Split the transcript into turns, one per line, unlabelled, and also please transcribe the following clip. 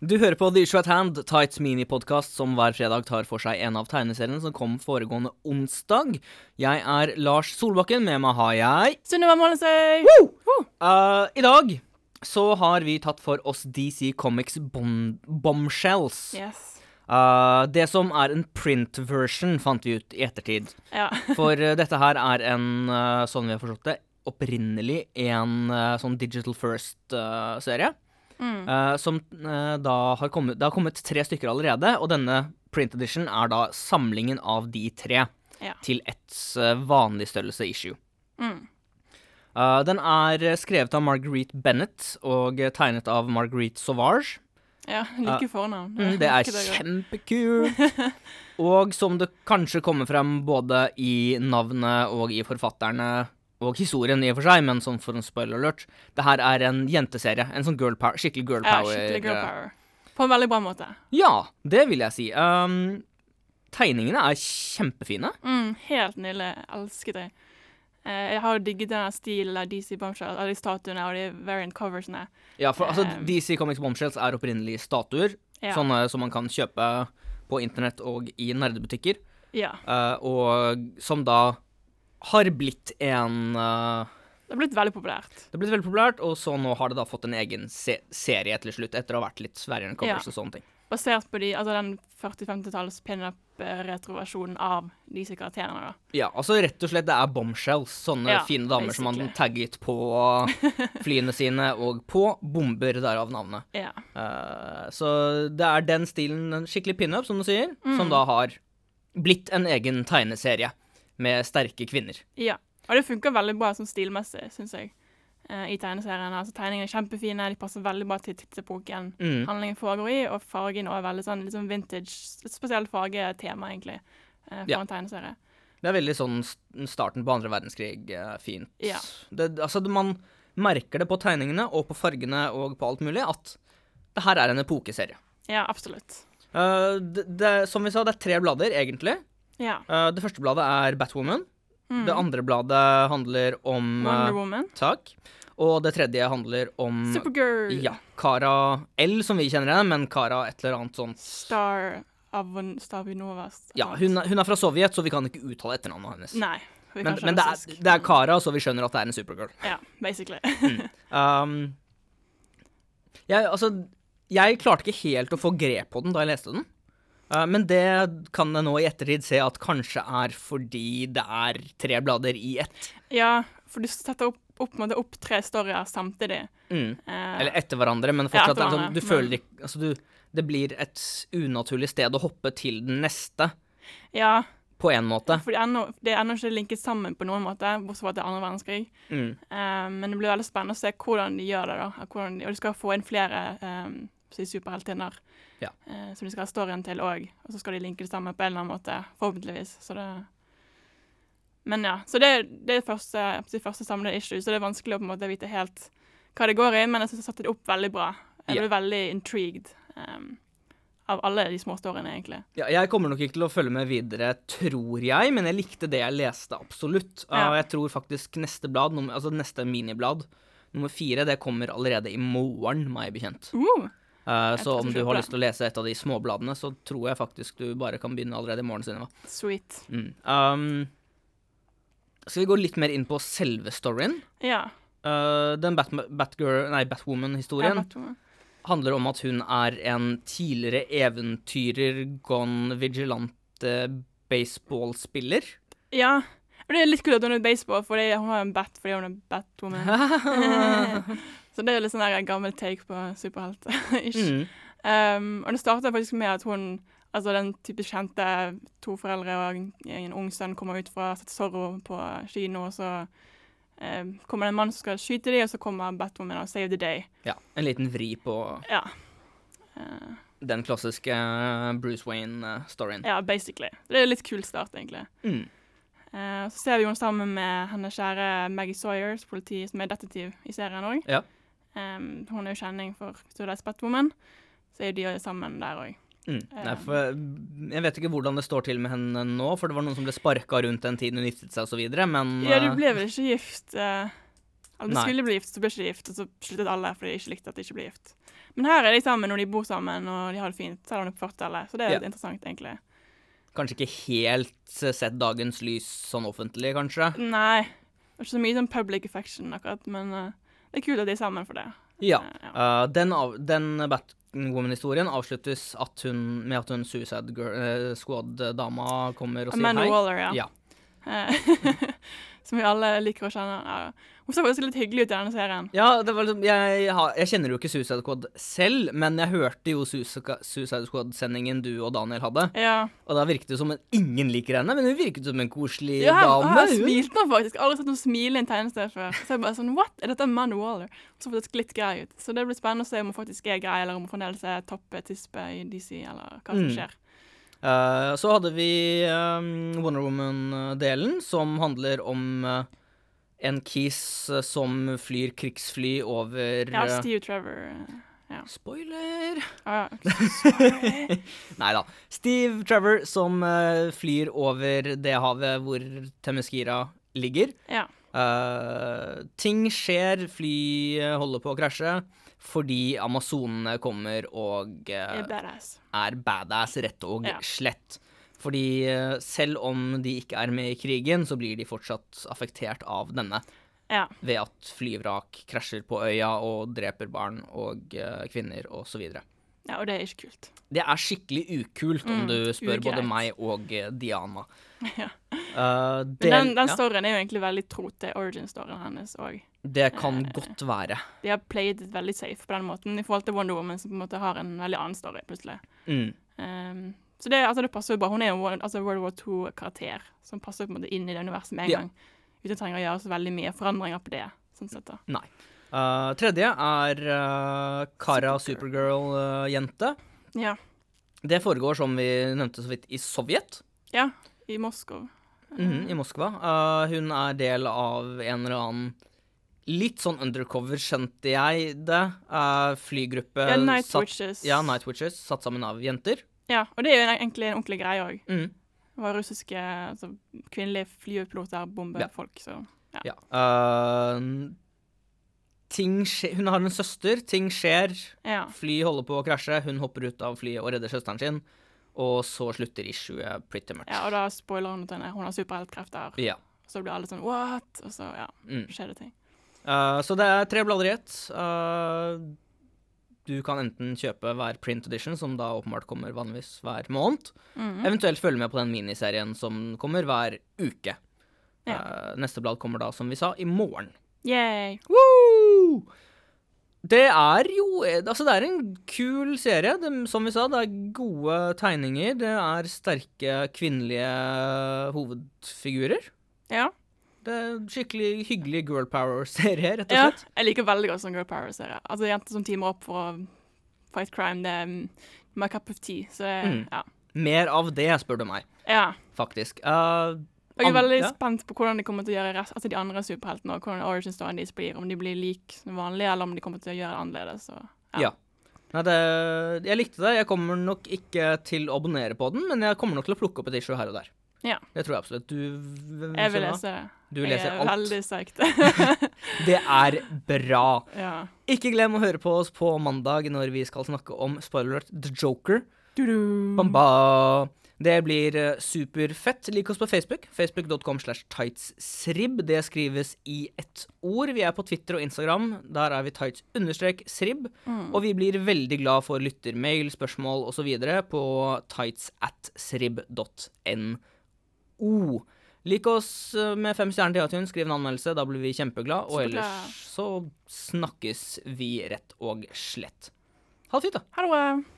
Du hører på The Issue at Hand, Tights minipodkast som hver fredag tar for seg en av tegneseriene som kom foregående onsdag. Jeg er Lars Solbakken, med meg har jeg
Sunniva Målensøy! Woo!
Eh, I dag så har vi tatt for oss DC Comics bon Bombshells.
Yes.
Eh, det som er en print version, fant vi ut i ettertid.
Ja.
For eh, dette her er en, eh, sånn vi har forstått det, opprinnelig en eh, sånn Digital First-serie.
Mm.
som eh, da har kommet Det har kommet tre stykker allerede, og denne print edition er da samlingen av de tre
Ja.
til ett eh, vanlig størrelse issue.
Mm.
Eh, den er eh, skrevet av Marguerite Bennett og eh, tegnet av Marguerite Sauvage.
ja. Like fornavn.
Mm, det er kjempekult! Og som det kanskje kommer frem både i navnet og i forfatterne og historien i og for seg, men sånn for en spoiler alert, det her er en jenteserie. En sånn girl power, skikkelig girl
Ja,
power.
skikkelig girl
eh,
power. På en veldig bra måte.
Ja, det vil jeg si. Um, tegningene er kjempefine.
Mm, helt nydelig. Jeg Elsker det. Eh, jeg har jo digget denne stilen av DC Bombshell, av de statuene og de variant coversene.
Ja, for altså,
Um.
DC Comics Bombshells er opprinnelig statuer,
Ja.
sånne som man kan kjøpe på internett og i nerdebutikker,
ja.
eh, og som da har blitt en eh,
Det har blitt veldig populært.
Det har blitt veldig populært, og så nå har det da fått en egen se serie til slutt, etter å ha vært litt sverigere enn covers og sånne ting.
Basert på de, altså den 40-50-talls pinup-retroversjonen av disse karakterene. da.
Ja, altså rett og slett, det er bombshells, sånne
Ja,
fine damer som man
basically.
tagget på flyene sine, og på bomber, derav navnet.
Ja.
Eh, så det er den stilen, en skikkelig pinup, som du sier,
Mm.
som da har blitt en egen tegneserie med sterke kvinner.
Ja, og det funker veldig bra sånn stilmessig, syns jeg, eh, i tegneserien. Altså, tegningene er kjempefine, de passer veldig bra til tidsepoken
Mm.
handlingen foregår i, og fargen også er veldig sånn liksom vintage, et spesielt fargetema, egentlig, eh, for
Ja.
en tegneserie.
Det er veldig sånn st- starten på andre verdenskrig eh, fint.
Ja.
Det, altså, det- man merker det på tegningene og på fargene og på alt mulig at det her er en epokeserie.
Ja, absolutt.
Eh, det, det, som vi sa, det er tre blader, egentlig.
Ja.
Eh, det første bladet er Batwoman.
Mm.
Det andre bladet handler om
Wonder
eh,
Woman.
Tak. Og det tredje handler om
Supergirl.
Mm. ja, Cara L, som vi kjenner henne, men Cara et eller annet sånt.
Star Avon Stavinovas.
Ja, hun, er- hun er fra Sovjet, så vi kan ikke uttale etternavnet hennes.
Nei. vi
men
kan
men det, er,
russisk.
det er Cara, så vi skjønner at det er en supergirl.
Ja, basically.
Um, jeg, altså, jeg klarte ikke helt å få grep på den da jeg leste den. Uh, men det kan jeg nå i ettertid se at kanskje er fordi det er tre blader i ett.
ja, for du setter opp, opp, på en måte opp tre storyer samtidig.
Mm.
Eh,
Eller etter hverandre, men
Ja,
fortsatt er det
etter
sånn,
hverandre, Mm.
du føler ikke altså, du, Det blir et unaturlig sted å hoppe til den neste,
ja,
på en måte.
For det er ennå- det er ennå ikke linket sammen på noen måte, bortsett fra at det er andre verdenskrig.
Mm.
Eh, men det blir veldig spennende å se hvordan de gjør det. da. og Hvordan de, og de skal få inn flere um, superheltinner
Ja.
eh, som de skal ha storyen til òg. Og så skal de linke det sammen på en eller annen måte, forhåpentligvis. Så det Men ja. Så det, det er første, de første samlede issue, så det er vanskelig å på en måte vite helt hva det går i, men jeg syns jeg satte det opp veldig bra. Jeg
Ja.
ble veldig intrigued eh, av alle de små storyene, egentlig.
Ja, jeg kommer nok ikke til å følge med videre, tror jeg, men jeg likte det jeg leste, absolutt. Uh,
Ja.
jeg tror faktisk neste blad, nummer, altså neste miniblad, nummer fire, det kommer allerede i morgen, meg bekjent.
Uh,
Uh,
Jeg
så
skal
om du
kjøpe
har
det.
lyst til å lese et av de småbladene, så tror jeg faktisk du bare kan begynne allerede i morgen, Sunniva.
sweet.
Mm. Um, skal vi gå litt mer inn på selve storyen?
Ja.
Uh, den Batma- Batgirl, nei, Batwoman-historien
Jeg vet om-
handler om at hun er en tidligere eventyrer gone vigilante baseballspiller.
Ja. Og det er litt kult at hun er baseball, fordi hun har en bat fordi hun er Batwoman.
mm.
Så det er litt sånn der gammel take på superhelt.
Mm.
Ish. um, og det starter faktisk med at hun, altså den type kjente to foreldre og en- en ung sønn kommer ut fra sett Zorro på kino, og så eh, kommer det en mann som skal skyte dem, og så kommer Batwoman og save the day.
Ja, en liten vri på
Ja. Eh,
den klassiske eh, Bruce Wayne-storyen.
ja, basically. Det er en litt kul start, egentlig.
Mm.
Eh, og så ser vi henne sammen med hennes kjære Maggie Sawyers, politi, som er detektiv i serien òg.
Ja.
hun er jo kjenning for Studies Batwoman, så er jo de jo sammen der òg.
Mm. Nei, for jeg vet ikke hvordan det står til med henne nå, for det var noen som ble sparka rundt den tiden hun giftet seg osv., men
Ja, de
eh,
ble vel ikke gift eh, Eller de
Nei.
skulle bli gift, så ble de ikke gift, og så sluttet alle fordi de ikke likte at de ikke ble gift. Men her er de sammen når de bor sammen og de har det fint, selv om det er på 40-tallet. Så det er litt
Ja.
interessant, egentlig.
Kanskje ikke helt sett dagens lys sånn offentlig, kanskje.
Nei. Det er ikke så mye sånn public affection akkurat, men eh, det er kult at de er sammen for det.
Ja.
Eh, ja.
eh, den av, den Batwoman-historien avsluttes at hun, med at hun Suicide Girl- eh, Squad-dama kommer og sier
Amanda
hei.
Waller, ja.
Ja.
Eh, Som vi alle liker å kjenne. Ja. Hun ser faktisk litt hyggelig ut i denne serien.
Ja, det var liksom, jeg, har- jeg kjenner jo ikke Suicide Squad selv, men jeg hørte jo Suica- Suicide Squad-sendingen du og Daniel hadde,
Ja.
og da virket det som at ingen liker henne, men hun virket som en koselig
Ja, her,
dame.
her
hun.
smilte han faktisk. Aldri sett noen smile i en tegneserie før. Så jeg bare sånn, what? Er dette Amanda Waller? Hun så faktisk litt grei ut. Så det blir spennende å se om hun faktisk er grei, eller om hun fremdeles er toppe tispe i DC, eller hva som
Mm.
skjer.
Eh, så hadde vi eh, Wonder Woman-delen, som handler om eh, en kis eh, som flyr krigsfly over
Ja,
eh,
Steve Trevor. eh,
Spoiler!
Ja, ja. Sorry.
Nei da. Steve Trevor som eh, flyr over det havet hvor Temeskira ligger.
ja.
Eh, ting skjer, fly eh, holder på å krasje, fordi amazonene kommer og eh,
Er badass.
er badass rett og
Ja.
slett. Fordi eh, selv om de ikke er med i krigen, så blir de fortsatt affektert av denne.
Ja.
Ved at flyvrak krasjer på øya og dreper barn og eh, kvinner og så videre.
ja, og det er ikke kult.
Det er skikkelig ukult, om
Mm,
du spør både
ugreit.
meg og eh, Diana.
Ja.
Eh,
Men
det,
den, den
ja,
storyen er jo egentlig veldig tro til origin-storyen hennes òg.
det kan godt være.
De har played it veldig safe på den måten, i forhold til Wonder Woman, som på en måte har en veldig annen story, plutselig.
Mm.
Ehm, så det, altså, det passer jo bra. Hun er jo en altså, World War II-karakter, som passer på en måte inn i det universet med en
Ja.
gang. Uten å trenge å gjøre så veldig mye forandringer på det. sånn sett da.
Nei. Eh, tredje er eh, Kara Supergirl-jente.
Ja.
det foregår, som vi nevnte så vidt, i Sovjet,
ja. I Moskva.
mhm,
Mm.
i Moskva. Eh, hun er del av en eller annen litt sånn undercover, skjønte jeg det, eh, flygruppe
Ja, Night
satt-
Witches.
Ja, Night Witches, satt sammen av jenter.
Ja, og det er jo en- egentlig en ordentlig greie òg.
Mm.
Det var russiske altså, kvinnelige flypiloter, bombefolk, så
Ja. øh, ting skje, hun har en søster, ting skjer.
ja.
Fly holder på å krasje, hun hopper ut av flyet og redder søsteren sin. Og så slutter issuet pretty much.
ja. Og da spoiler hun at hun er- hun har superheltkrefter.
Ja.
Så blir alle sånn what? Og så ja,
Mm.
skjer det ting.
Øh, så det er tre blader i ett. Øh, du kan enten kjøpe hver print edition, som da åpenbart kommer vanligvis hver måned.
Mhm.
Eventuelt følge med på den miniserien som kommer hver uke.
Ja.
Øh, neste blad kommer da, som vi sa, i morgen.
Yay.
Woo! Det er jo Altså, det er en kul serie. Det, som vi sa, det er gode tegninger. Det er sterke kvinnelige hovedfigurer.
Ja.
Det er Skikkelig hyggelig girl power-serie, rett og
Ja,
slett.
jeg liker veldig godt sånn Girl Power-serie. Altså jenter som teamer opp for å fight crime, det er mm, my cup of tea. Så
Mm.
ja.
Mer av det, spør du meg,
ja.
faktisk. Eh,
Og jeg er
An-
veldig
ja.
spent på hvordan de kommer til å gjøre rest, altså de andre superheltene og hvordan origin storyen deres blir. Om de blir lik som vanlig, eller om de kommer til å gjøre det annerledes. Så.
ja. Nei, det, jeg likte det. Jeg kommer nok ikke til å abonnere på den, men jeg kommer nok til å plukke opp et issue her og der.
Ja.
Det tror jeg absolutt. Du,
Jeg vil
Sunna,
lese det.
du leser
jeg er
alt.
veldig psyched.
Det er bra.
ja.
Ikke glem å høre på oss på mandag når vi skal snakke om spoiler alert, The Joker.
Du-du.
Bam, ba. Det blir eh, superfett. Lik oss på Facebook. Facebook.com slash tightssrib. Det skrives i ett ord. Vi er på Twitter og Instagram. Der er vi tights-srib.
Mm.
Og vi blir veldig glad for lyttermail, spørsmål osv. på tights.srib.no. Lik oss eh, med fem stjerner til iTunes, skriv en anmeldelse, da blir vi kjempeglad. Og
Superglad.
ellers så snakkes vi rett og slett. Ha det fint, da.
Ha det bra.